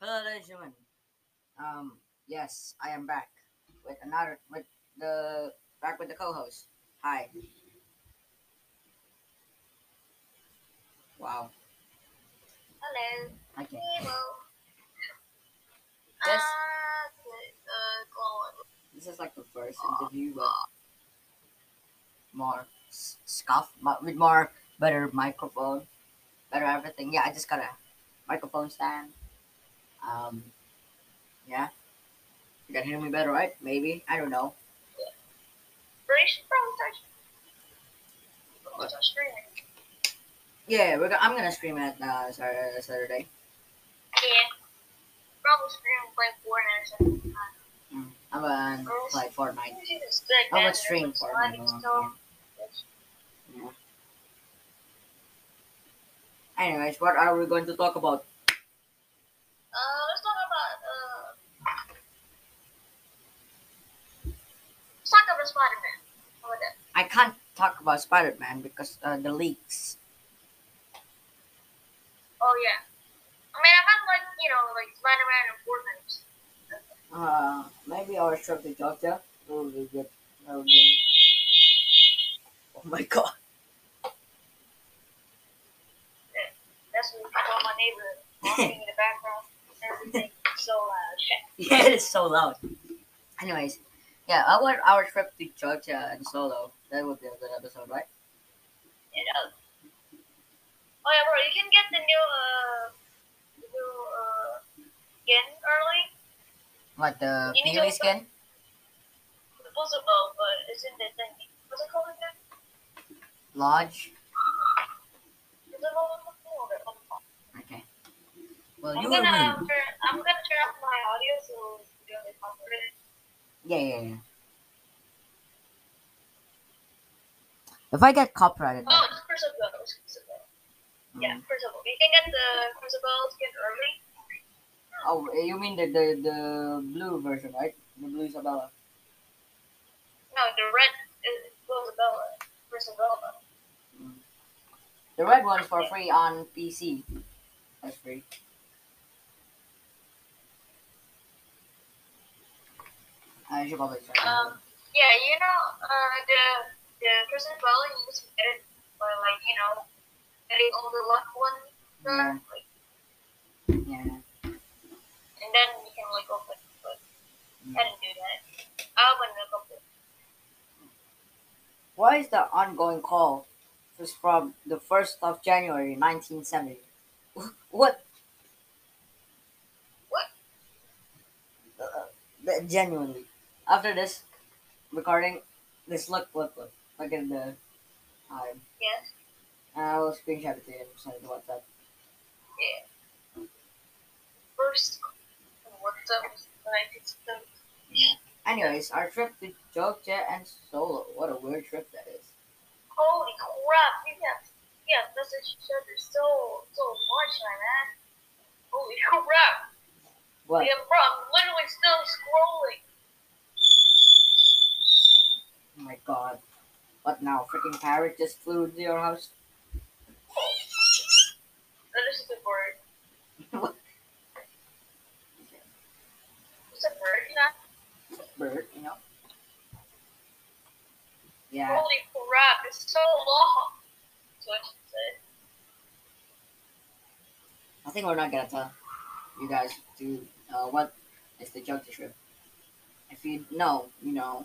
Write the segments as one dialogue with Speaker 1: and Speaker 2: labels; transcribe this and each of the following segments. Speaker 1: Hello, ladies and gentlemen. Um, yes, I am back with another with the back with the co-host. Hi. Wow.
Speaker 2: Hello.
Speaker 1: Okay.
Speaker 2: Hello.
Speaker 1: Yes.
Speaker 2: Uh, uh, go on.
Speaker 1: This is like the first interview with more s- scuff mu- with more better microphone, better everything. Yeah, I just got a microphone stand. Um, yeah, you can hear me better, right? Maybe I don't know.
Speaker 2: British from Touch. From Touch Streaming.
Speaker 1: Yeah, we're. Go- I'm gonna scream at uh, Saturday. Saturday.
Speaker 2: Yeah. Probably streaming by Fortnite or something.
Speaker 1: I'm gonna play Fortnite. I'm gonna stream Fortnite. a lot, yeah. Anyways, what are we going to talk about?
Speaker 2: Uh, let's talk about, uh, let's talk about Spider-Man. How about that?
Speaker 1: I can't talk about Spider Man because uh, the leaks.
Speaker 2: Oh, yeah. I mean, I meant like, you know, like Spider-Man and Fortnite.
Speaker 1: Uh, maybe our trip to Georgia will be good. That would be- Oh my god.
Speaker 2: That's what I told my neighbor walking in the background. Everything so uh, loud.
Speaker 1: Yeah, it is so loud. Anyways, yeah, I want our trip to Georgia and solo. That would be a good episode, right?
Speaker 2: You know. Oh yeah, bro. You can get the new uh the new uh skin early.
Speaker 1: What the E
Speaker 2: You need
Speaker 1: Peely
Speaker 2: to-
Speaker 1: skin?
Speaker 2: The puzzle bow, but it's in the thing. What's it called again?
Speaker 1: Lodge?
Speaker 2: It's a little on the floor. on the floor.
Speaker 1: Okay. Well,
Speaker 2: I'm
Speaker 1: you will
Speaker 2: gonna
Speaker 1: win.
Speaker 2: turn, I'm gonna turn off my audio so you don't get copyrighted.
Speaker 1: Yeah, yeah, yeah. If I get copyrighted,
Speaker 2: Oh, it's Crucible. It's Crucible. Yeah, Crucible. You can get the Crucible skin early.
Speaker 1: Oh, you mean the, the the blue version, right? The blue Isabella.
Speaker 2: No, the red uh, is Rosabella. Rosabella.
Speaker 1: The red one's for free on PC. That's free. I should probably check.
Speaker 2: Um, yeah, you know, uh, the the prison dwelling you just get it by like you know getting all the luck ones there, like,
Speaker 1: yeah.
Speaker 2: and then you can like open. But I didn't do that. I opened a couple.
Speaker 1: Why is the ongoing call was from the first of January, nineteen seventy? What?
Speaker 2: What?
Speaker 1: Uh, that genuinely. After this recording, this look, look, look. Look at the time.
Speaker 2: Yes.
Speaker 1: I will screenshot it to you and send it to WhatsApp.
Speaker 2: Yeah. First, what's up? Like it's the
Speaker 1: Anyways, our trip to Georgia and Solo. What a weird trip that is.
Speaker 2: holy crap! You have you have messaged each other so so much, my man. Holy crap!
Speaker 1: What?
Speaker 2: Yeah, bro, I'm literally still scrolling.
Speaker 1: Oh my god. What now? Freaking parrot just flew into your house?
Speaker 2: That is a good word.
Speaker 1: What?
Speaker 2: It's a bird, you know?
Speaker 1: Bird, you know? Yeah.
Speaker 2: Holy crap, it's so long. That's what she said.
Speaker 1: I think we're not gonna tell you guys to uh, what is the Georgia trip. If you know, you know.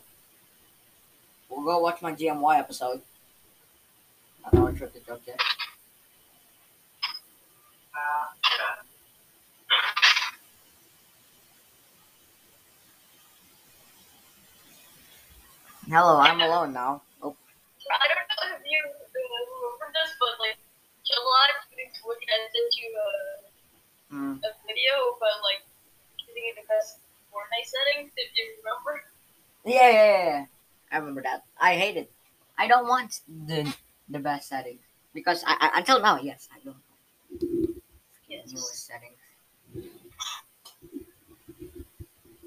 Speaker 1: We'll go watch my GMY episode. Not our trip to Georgia. Hello, I'm alone now. Oh,
Speaker 2: I don't know if you uh, remember this, but like July 2020, I sent you a,
Speaker 1: mm.
Speaker 2: a video about like getting in the best Fortnite settings, if you remember.
Speaker 1: Yeah, yeah, yeah, yeah. I remember that. I hate it. I don't want the the best settings because I, I until now, yes, I don't
Speaker 2: Yes.
Speaker 1: the newest settings.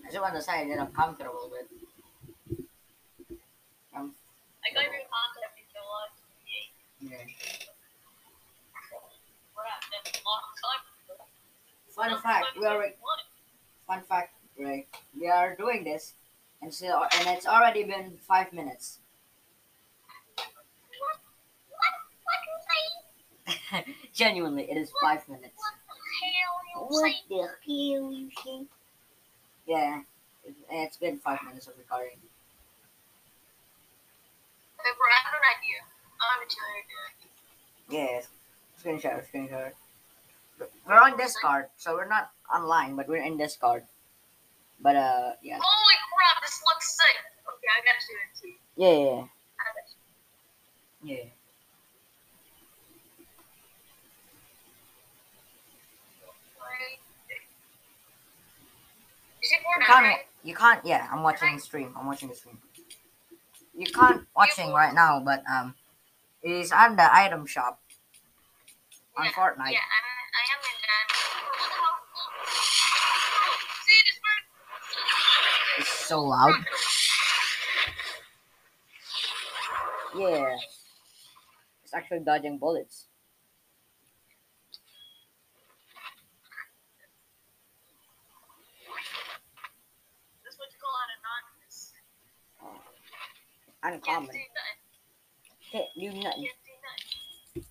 Speaker 1: I just want to say that I'm comfortable with. Um,
Speaker 2: I got your contact in July 28th.
Speaker 1: yeah.
Speaker 2: Crap, that's a long time ago.
Speaker 1: It's Fun fact, we are fun fact, Greg. We are doing this, and so and it's already been five minutes. Genuinely, it is five minutes.
Speaker 2: What the hell?
Speaker 1: hell you think? Yeah, it, it's been five minutes of recording.
Speaker 2: Hey, bro, I have an idea. I'm gonna tell you.
Speaker 1: Yes, screenshot, screenshot. We're on Discord, so we're not online, but we're in Discord. But uh, yeah,
Speaker 2: Holy crap, this looks sick. Okay, I gotta do it too.
Speaker 1: yeah, yeah,
Speaker 2: I gotta-
Speaker 1: yeah. yeah.
Speaker 2: Wait. You see Fortnite,
Speaker 1: You can't,
Speaker 2: right?
Speaker 1: you can't. Yeah, I'm watching the stream. I'm watching the stream. You can't watching right now, but um, it's on the item shop on
Speaker 2: Yeah,
Speaker 1: Fortnite.
Speaker 2: Yeah, I'm, I am in that. Oh, what the hell? See, this bird.
Speaker 1: It's so loud. Yeah. It's actually dodging bullets.
Speaker 2: That's what you call an anonymous. Can't
Speaker 1: Uncommon.
Speaker 2: do that.
Speaker 1: Hey, you kn- you
Speaker 2: Can't do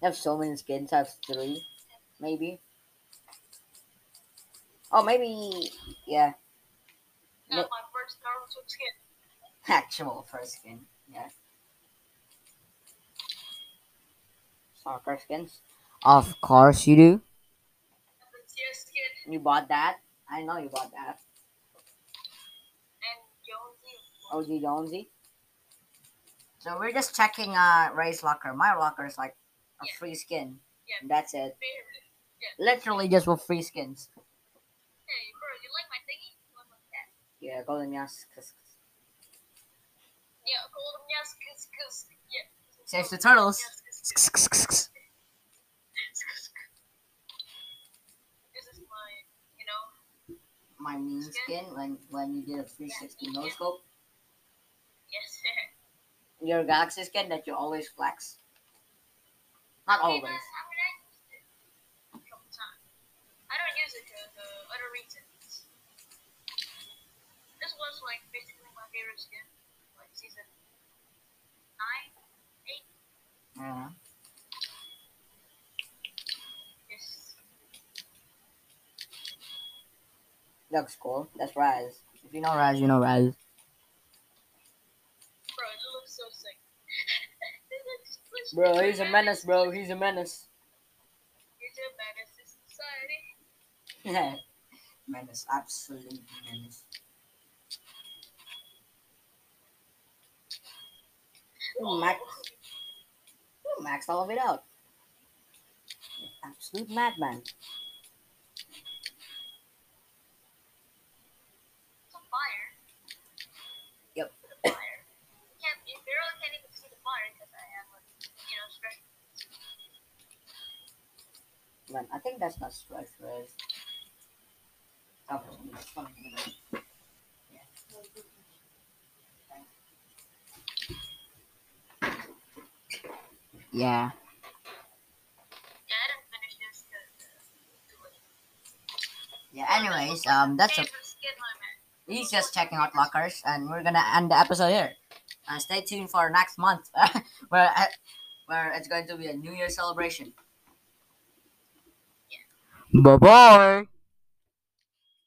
Speaker 2: that.
Speaker 1: have so many skins. I have three, maybe. Oh, maybe. Yeah.
Speaker 2: Not
Speaker 1: Look.
Speaker 2: my first Naruto skin.
Speaker 1: Actual first skin. Yeah. Soccer skins. Of course you do.
Speaker 2: The tier skin
Speaker 1: You bought that. I know you bought that.
Speaker 2: and Jonesy.
Speaker 1: OG Jonesy. So we're just checking uh Ray's locker. My locker is like a
Speaker 2: Yeah.
Speaker 1: free skin.
Speaker 2: Yeah.
Speaker 1: That's it.
Speaker 2: Favorite.
Speaker 1: Literally just with free skins.
Speaker 2: Hey, bro, you like my thingy? You want like that?
Speaker 1: Yeah, golden yes.
Speaker 2: Yeah, golden yes, cause, cause, yeah.
Speaker 1: Saves the turtles.
Speaker 2: Yes, 'cause- This is my, you know,
Speaker 1: My mean skin when when you did a 360 no scope.
Speaker 2: yes.
Speaker 1: Your galaxy skin that you always flex. Not
Speaker 2: Hey,
Speaker 1: always.
Speaker 2: man, I mean, I used it a couple times. I don't use it for the other reasons. This was like basically my favorite skin, like season nine, eight.
Speaker 1: Yeah.
Speaker 2: Yes.
Speaker 1: Looks cool. That's Raz. If you know Raz, you know Raz.
Speaker 2: Bro, it looks so sick.
Speaker 1: Bro, he's a menace, bro. He's a menace.
Speaker 2: He's a menace to society.
Speaker 1: menace, absolute menace. Ooh, Max, ooh, Max all of it out. Absolute madman.
Speaker 2: It's on fire.
Speaker 1: Yep.
Speaker 2: The fire. You can't, you barely can't even see the fire because I have, like, you know, stress.
Speaker 1: Man, I think that's not stress, Raz. That was me, something like that. Yeah.
Speaker 2: Yeah, I didn't finish this because.
Speaker 1: Yeah. Anyways, um, that's a
Speaker 2: skin limit.
Speaker 1: He's just checking out lockers, and we're gonna end the episode here. Uh, stay tuned for next month, where uh, where it's going to be a New Year celebration. Bye bye.